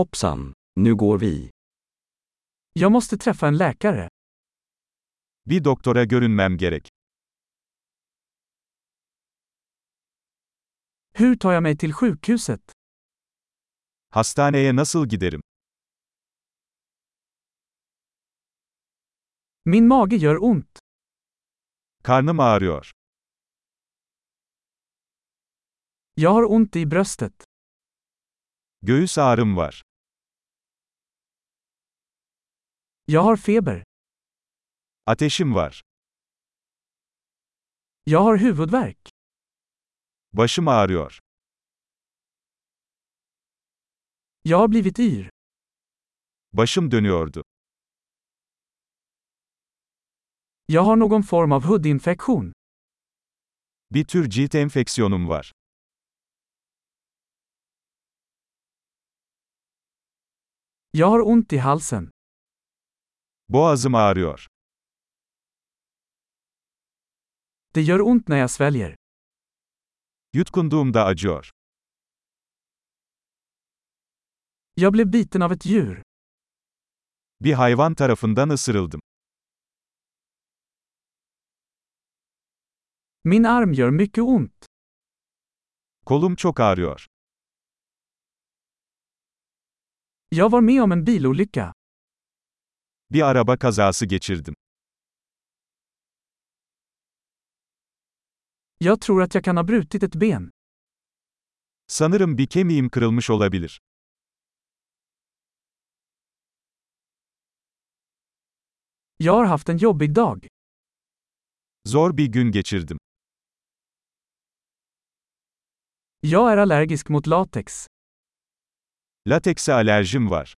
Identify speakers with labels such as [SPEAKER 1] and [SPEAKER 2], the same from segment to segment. [SPEAKER 1] Hoppsan, nu går vi.
[SPEAKER 2] Jag måste träffa en läkare.
[SPEAKER 3] Bir doktora görünmem gerek.
[SPEAKER 2] Hur tar jag mig till sjukhuset?
[SPEAKER 3] Hastaneye nasıl giderim?
[SPEAKER 2] Min mage gör ont.
[SPEAKER 3] Karnım ağrıyor.
[SPEAKER 2] Jag har ont i bröstet.
[SPEAKER 3] Göğüs ağrım var.
[SPEAKER 2] Jag har feber.
[SPEAKER 3] Ateşim var.
[SPEAKER 2] Jag har huvudvärk.
[SPEAKER 3] Başım ağrıyor.
[SPEAKER 2] Jag har blivit yr.
[SPEAKER 3] Başım dönüyordu.
[SPEAKER 2] Jag har någon form av hudinfektion.
[SPEAKER 3] Bir tür cilt enfeksiyonum var.
[SPEAKER 2] Jag har ont i halsen.
[SPEAKER 3] Boğazım ağrıyor.
[SPEAKER 2] Det gör ont när jag sväljer.
[SPEAKER 3] Yutkunduğumda acıyor.
[SPEAKER 2] Jag blev biten av ett djur.
[SPEAKER 3] Bir hayvan tarafından ısırıldım.
[SPEAKER 2] Min arm gör mycket ont.
[SPEAKER 3] Kolum çok ağrıyor.
[SPEAKER 2] Jag var med om en bilolycka.
[SPEAKER 3] Bir araba kazası geçirdim.
[SPEAKER 2] Jag tror att jag kan ha brutit ett ben.
[SPEAKER 3] Sanırım bir kemiğim kırılmış olabilir.
[SPEAKER 2] Jag har haft en jobbig dag.
[SPEAKER 3] Zor bir gün geçirdim.
[SPEAKER 2] Jag är allergisk mot latex.
[SPEAKER 3] Latekse alerjim var.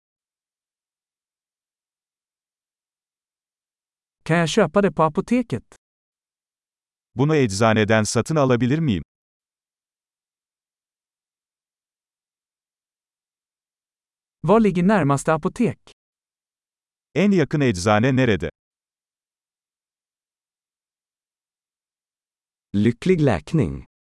[SPEAKER 2] Kan jag köpa det på apoteket?
[SPEAKER 3] Bunu eczaneden satın alabilir miyim?
[SPEAKER 2] Var ligger närmaste apotek?
[SPEAKER 3] En yakın eczane nerede?
[SPEAKER 1] Lycklig läkning!